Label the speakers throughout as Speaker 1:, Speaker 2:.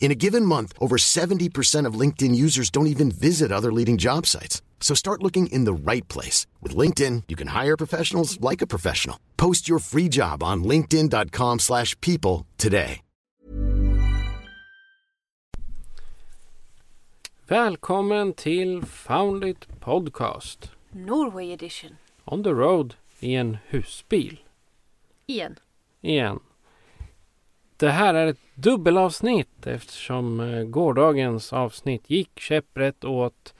Speaker 1: In a given month, over 70% of LinkedIn users don't even visit other leading job sites. So start looking in the right place. With LinkedIn, you can hire professionals like a professional. Post your free job on linkedin.com slash people today.
Speaker 2: Välkommen till Found It Podcast.
Speaker 3: Norway edition.
Speaker 2: On the road i en husbil.
Speaker 3: Igen.
Speaker 2: Igen. Det här är ett dubbelavsnitt eftersom eh, gårdagens avsnitt gick käpprätt åt...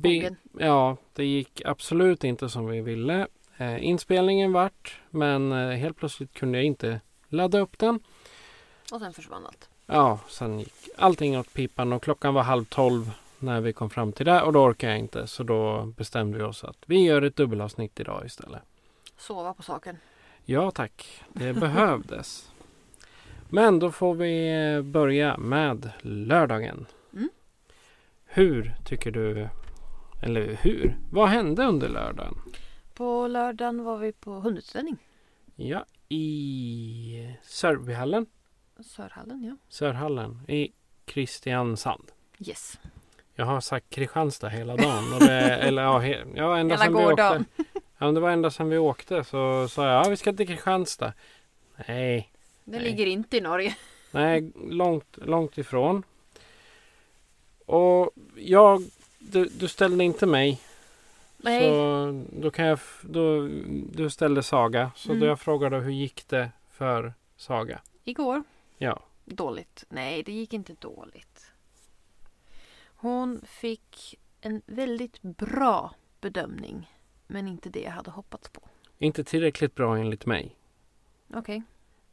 Speaker 2: bi-
Speaker 3: Skogen.
Speaker 2: Ja, det gick absolut inte som vi ville. Eh, inspelningen vart, men eh, helt plötsligt kunde jag inte ladda upp den.
Speaker 3: Och sen försvann allt.
Speaker 2: Ja, sen gick allting åt pipan och klockan var halv tolv när vi kom fram till det och då orkade jag inte så då bestämde vi oss att vi gör ett dubbelavsnitt idag istället.
Speaker 3: Sova på saken.
Speaker 2: Ja tack, det behövdes. Men då får vi eh, börja med lördagen.
Speaker 3: Mm.
Speaker 2: Hur tycker du, eller hur, vad hände under lördagen?
Speaker 3: På lördagen var vi på hundutställning.
Speaker 2: Ja, i Sörbyhallen,
Speaker 3: Sörhallen, ja.
Speaker 2: Sörhallen i Kristiansand.
Speaker 3: Yes.
Speaker 2: Jag har sagt Kristianstad hela dagen. Och det, eller ja, he, ja ända
Speaker 3: Hela
Speaker 2: sedan vi åkte.
Speaker 3: gårdagen.
Speaker 2: Ja, men det var ända sedan vi åkte så sa jag, ja vi ska till Kristianstad. Nej,
Speaker 3: Det
Speaker 2: Nej.
Speaker 3: ligger inte i Norge.
Speaker 2: nej, långt, långt ifrån. Och jag, du, du ställde inte mig.
Speaker 3: Nej.
Speaker 2: Så då kan jag, f- då, du ställde Saga. Så
Speaker 3: Mm.
Speaker 2: då jag frågade hur gick det för Saga?
Speaker 3: Igår.
Speaker 2: Ja,
Speaker 3: Dåligt. Nej, det gick inte dåligt. Hon fick en väldigt bra bedömning. Men inte det jag hade hoppats på.
Speaker 2: inte tillräckligt bra enligt mig.
Speaker 3: Okej.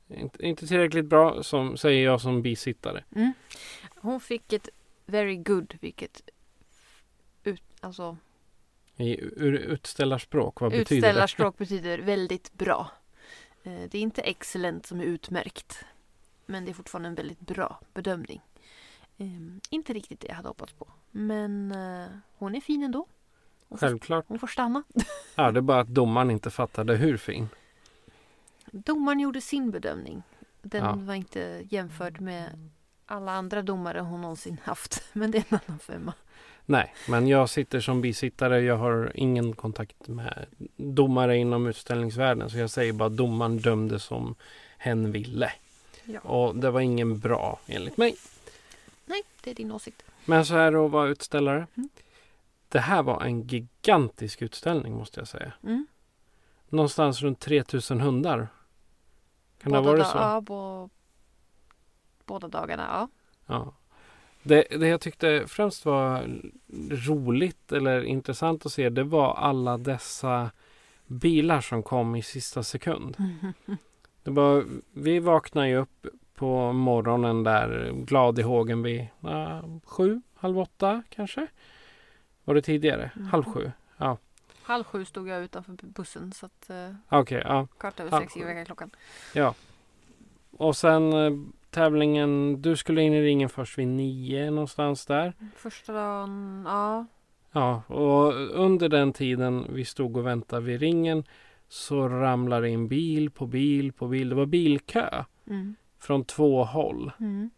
Speaker 2: Inte, inte tillräckligt bra som, säger jag som bisittare.
Speaker 3: Mm. Hon fick ett very good, vilket ut, alltså,
Speaker 2: I ur, utställarspråk, vad betyder det?
Speaker 3: utställarspråk betyder väldigt bra. Eh, Det är inte excellent som är utmärkt. Men det är fortfarande en väldigt bra bedömning. Eh, Inte riktigt det jag hade hoppats på. Men eh, hon är fin ändå. Hon får,
Speaker 2: Självklart.
Speaker 3: hon får stanna.
Speaker 2: Ja, det är bara att domaren inte fattade hur fin.
Speaker 3: Domaren gjorde sin bedömning. Den
Speaker 2: Ja.
Speaker 3: var inte jämförd med alla andra domare hon någonsin haft. Men det är en annan femma.
Speaker 2: Nej, men jag sitter som bisittare. Jag har ingen kontakt med domare inom utställningsvärlden. Så jag säger bara att domaren dömde som hen ville.
Speaker 3: Ja.
Speaker 2: Och det var ingen bra enligt mig.
Speaker 3: Nej, det är din åsikt.
Speaker 2: Men så är det att vara utställare.
Speaker 3: Mm.
Speaker 2: Det här var en gigantisk utställning måste jag säga.
Speaker 3: Mm.
Speaker 2: Någonstans runt 3000 hundar. Kan det ha
Speaker 3: Båda
Speaker 2: varit
Speaker 3: da-
Speaker 2: så?
Speaker 3: Ja, på båda dagarna. Ja.
Speaker 2: Ja. Det, det jag tyckte främst var roligt eller intressant att se det var alla dessa bilar som kom i sista sekund. Det var, vi vaknade ju upp på morgonen där glad i hågen vid eh, sju, halv åtta kanske. Var det tidigare?
Speaker 3: Mm.
Speaker 2: Halv sju?
Speaker 3: Halv sju stod jag utanför bu- bussen så att eh,
Speaker 2: Ah, Okej, ja.
Speaker 3: kvart över
Speaker 2: Halv
Speaker 3: sex
Speaker 2: sju.
Speaker 3: gick jag klockan.
Speaker 2: Och sen eh, tävlingen, du skulle in i ringen först vid nio någonstans där.
Speaker 3: Första dagen, ja.
Speaker 2: Ja, och under den tiden vi stod och väntade vid ringen så ramlade in bil på bil på bil. Det var bilkö
Speaker 3: Mm.
Speaker 2: från två håll.
Speaker 3: Mm.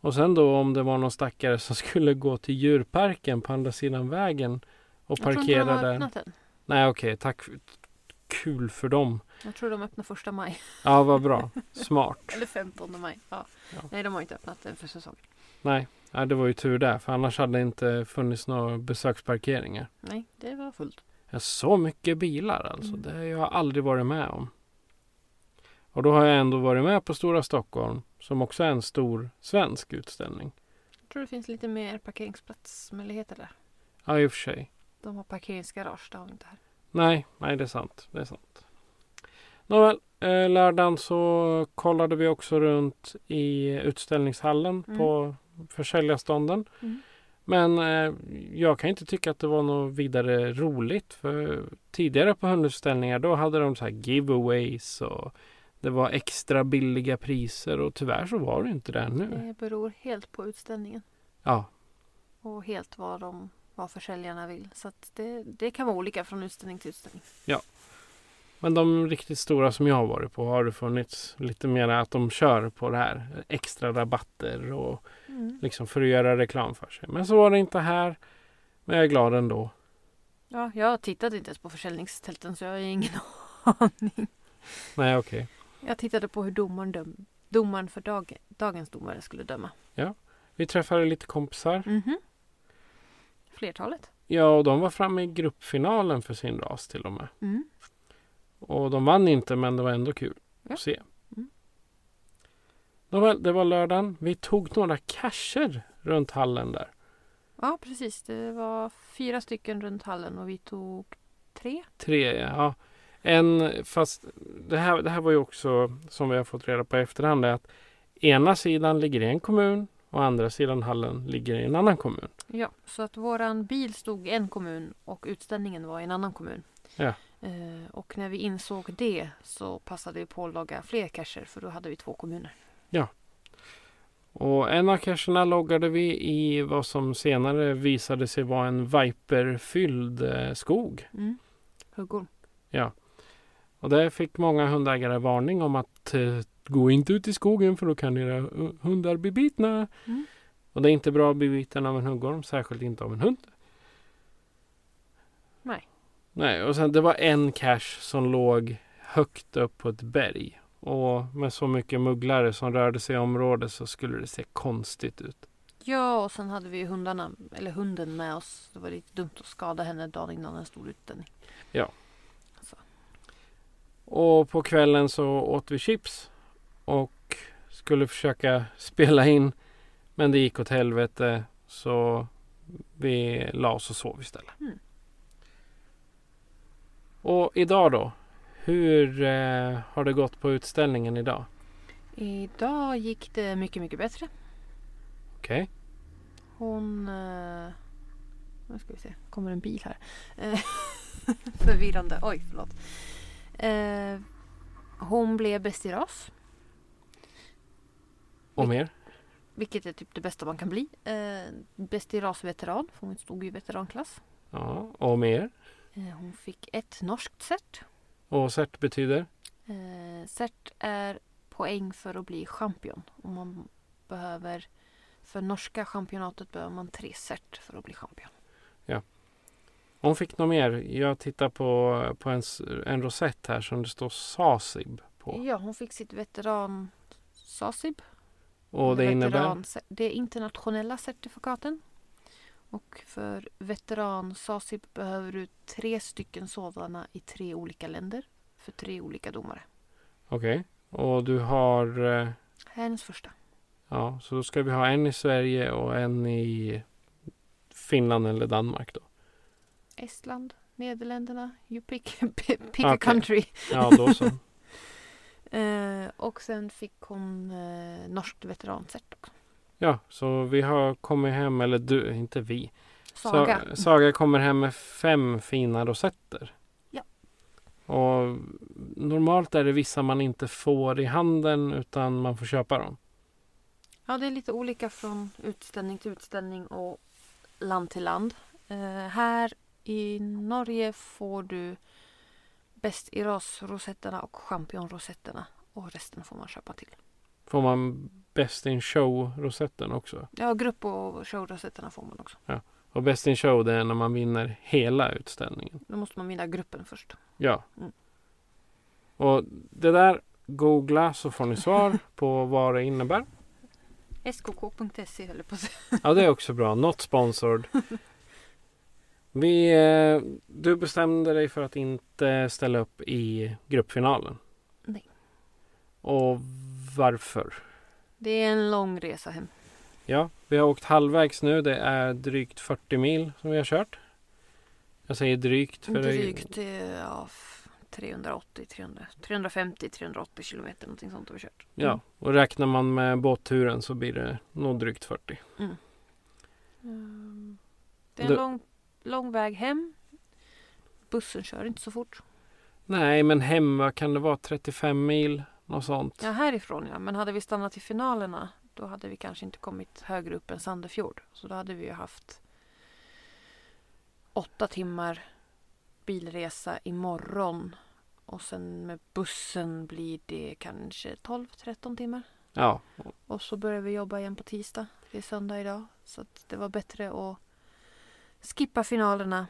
Speaker 2: Och sen då om det var någon stackare som skulle gå till djurparken på andra sidan vägen och
Speaker 3: Jag tror inte de
Speaker 2: parkera
Speaker 3: har
Speaker 2: där.
Speaker 3: öppnat än.
Speaker 2: Nej, okej, tack. för- Kul för dem.
Speaker 3: Jag tror de öppnar första maj.
Speaker 2: Ja, vad bra. Smart.
Speaker 3: Eller 15 maj. Ja.
Speaker 2: Ja.
Speaker 3: Nej, de har inte öppnat den för säsongen.
Speaker 2: Nej, ja, det var ju tur där, för annars hade det inte funnits några besöksparkeringar.
Speaker 3: Nej, det var fullt.
Speaker 2: Ja, Så mycket bilar alltså.
Speaker 3: Mm.
Speaker 2: Det har jag aldrig varit med om. Och då har jag ändå varit med på Stora Stockholm som också är en stor svensk utställning.
Speaker 3: Jag tror det finns lite mer parkeringsplatsmöjligheter där.
Speaker 2: Ja, i och för sig.
Speaker 3: De har parkeringsgarage, det har vi inte här.
Speaker 2: Nej, nej det är sant. Det är sant. Nåväl, eh, lördagen så kollade vi också runt i utställningshallen
Speaker 3: Mm.
Speaker 2: på försäljarstånden.
Speaker 3: Mm.
Speaker 2: Men eh, jag kan inte tycka att det var något vidare roligt. För tidigare på hundutställningar då hade de så här giveaways och det var extra billiga priser och tyvärr så var det inte det nu.
Speaker 3: Det beror helt på utställningen
Speaker 2: Ja,
Speaker 3: och helt vad, de, vad försäljarna vill. Så att det, det kan vara olika från utställning till utställning.
Speaker 2: men de riktigt stora som jag har varit på har det funnits lite mer att de kör på det här. Extra rabatter och
Speaker 3: Mm.
Speaker 2: liksom för att göra reklam för sig. Men så var det inte här. Men jag är glad ändå.
Speaker 3: Ja, jag tittade inte ens på försäljningstälten så jag har ingen aning.
Speaker 2: Nej, okej.
Speaker 3: Jag tittade på hur domaren, döm, domaren för dag, dagens domare skulle döma.
Speaker 2: Vi träffade lite kompisar.
Speaker 3: Mhm. Flertalet.
Speaker 2: Ja, och de var framme i gruppfinalen för sin ras till och med.
Speaker 3: Mm.
Speaker 2: Och de vann inte, men det var ändå kul
Speaker 3: Ja.
Speaker 2: att se.
Speaker 3: Mm.
Speaker 2: Det var, det var lördagen. Vi tog några cacher runt hallen där.
Speaker 3: Ja, precis. Det var fyra stycken runt hallen och vi tog tre.
Speaker 2: Tre, ja. En, fast det här, det här var ju också, som vi har fått reda på i efterhand, är att ena sidan ligger i en kommun och andra sidan hallen ligger i en annan kommun.
Speaker 3: Ja, så att våran bil stod i en kommun och utställningen var i en annan kommun.
Speaker 2: Ja.
Speaker 3: Eh, och när vi insåg det så passade vi på att laga fler cacher för då hade vi två kommuner.
Speaker 2: Och en av cacherna loggade vi i vad som senare visade sig vara en viperfylld eh, skog.
Speaker 3: Mm. Huggorm.
Speaker 2: Och där fick många hundägare varning om att eh, gå inte ut i skogen för då kan era eh, hundar bli bitna.
Speaker 3: Mm.
Speaker 2: Och det är inte bra att bli biten av en huggorm, särskilt inte av en hund.
Speaker 3: Nej.
Speaker 2: Nej, och sen det var en cache som låg högt upp på ett berg. Och med så mycket mugglare som rörde sig i området så skulle det se konstigt ut.
Speaker 3: Ja, och sen hade vi ju hundarna, eller hunden med oss. Det var lite dumt att skada henne dagen innan en stor utställning.
Speaker 2: Och på kvällen så åt vi chips och skulle försöka spela in. Men det gick åt helvete så vi la oss och sov istället.
Speaker 3: Mm.
Speaker 2: Och idag då? Hur eh, har det gått på utställningen idag?
Speaker 3: Idag gick det mycket, mycket bättre.
Speaker 2: Okej.
Speaker 3: Hon... Eh, nu ska vi se, kommer en bil här. Eh, Förvirrande, oj förlåt. Eh, hon blev bäst i ras,
Speaker 2: Och mer?
Speaker 3: vilket är typ det bästa man kan bli. Eh, bäst i ras-veteran, för hon stod ju i veteranklass.
Speaker 2: Ja, och mer.
Speaker 3: Eh, hon fick ett norskt cert.
Speaker 2: Och cert betyder?
Speaker 3: Eh, cert är poäng för att bli champion. Och man behöver, för norska championatet behöver man tre cert för att bli champion.
Speaker 2: Hon fick något mer. Jag tittar på, på en, s- en rosett här som det står Sasib på.
Speaker 3: Ja, hon fick sitt veteran Sasib.
Speaker 2: Och det innebär?
Speaker 3: veteran, Det är internationella certifikaten. Och för veteran Sasib behöver du tre stycken sådana i tre olika länder. För tre olika domare.
Speaker 2: Okej. Och du har... Eh,
Speaker 3: Här är hennes första.
Speaker 2: Ja, så då ska vi ha en i Sverige och en i Finland eller Danmark då.
Speaker 3: Estland, Nederländerna, you pick, pick a
Speaker 2: Ah, Okej.
Speaker 3: country.
Speaker 2: Ja, då så.
Speaker 3: Eh, och sen fick hon eh, norskt veterancert också.
Speaker 2: Ja, så vi har kommit hem, eller du, inte vi. Sa-
Speaker 3: Saga.
Speaker 2: Saga kommer hem med fem fina rosetter.
Speaker 3: Ja.
Speaker 2: Och normalt är det vissa man inte får i handen utan man får köpa dem.
Speaker 3: Ja, det är lite olika från utställning till utställning och land till land. Eh, här i Norge får du bäst i ras-rosetterna och championrosetterna. Och resten får man köpa till.
Speaker 2: Får man Best in Show-rosetten också?
Speaker 3: Ja, grupp och showrosetterna får man också.
Speaker 2: Och Best in Show det är när man vinner hela utställningen.
Speaker 3: Då måste man vinna gruppen först.
Speaker 2: Ja.
Speaker 3: Mm.
Speaker 2: Och det där, googla så får ni svar på vad det innebär.
Speaker 3: skk.se E höll jag på att säga.
Speaker 2: Ja, det är också bra. Not sponsored. Vi, eh, du bestämde dig för att inte ställa upp i gruppfinalen.
Speaker 3: Nej.
Speaker 2: Och varför?
Speaker 3: Det är en lång resa hem.
Speaker 2: Ja, vi har åkt halvvägs nu. Det är drygt 40 mil som vi har kört. Jag säger drygt. För
Speaker 3: Drygt eh, ja, f- 380, 300, 350, 380 kilometer någonting sånt har vi kört.
Speaker 2: Det, ja, och räknar man med båtturen så blir det nog drygt 40.
Speaker 3: Mm. Mm. Det är en
Speaker 2: Då-
Speaker 3: lång, lång väg hem. Bussen kör inte så fort.
Speaker 2: Nej, men hemma kan det vara 35 mil, något sånt.
Speaker 3: Ja, härifrån ja. Men hade vi stannat i finalerna då hade vi kanske inte kommit högre upp än Sandefjord. Så då hade vi ju haft åtta timmar bilresa imorgon. Och sen med bussen blir det kanske 12-13 timmar.
Speaker 2: Ja,
Speaker 3: Och så börjar vi jobba igen på tisdag. Det är söndag idag. Så att det var bättre att skippa finalerna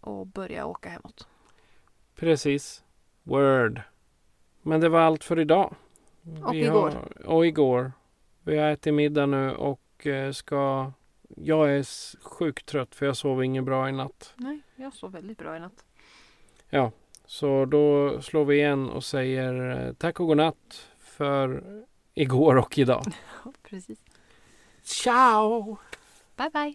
Speaker 3: och börja åka hemåt.
Speaker 2: precis. Word. Men det var allt för idag.
Speaker 3: Och igår.
Speaker 2: Har, och igår. Vi har ätit middag nu och eh, ska... Jag är s- sjukt trött för jag sov inget bra i natt.
Speaker 3: Nej, jag sov väldigt bra i natt.
Speaker 2: Så då slår vi igen och säger eh, tack och godnatt för igår och idag.
Speaker 3: Precis.
Speaker 2: Ciao!
Speaker 3: Bye bye!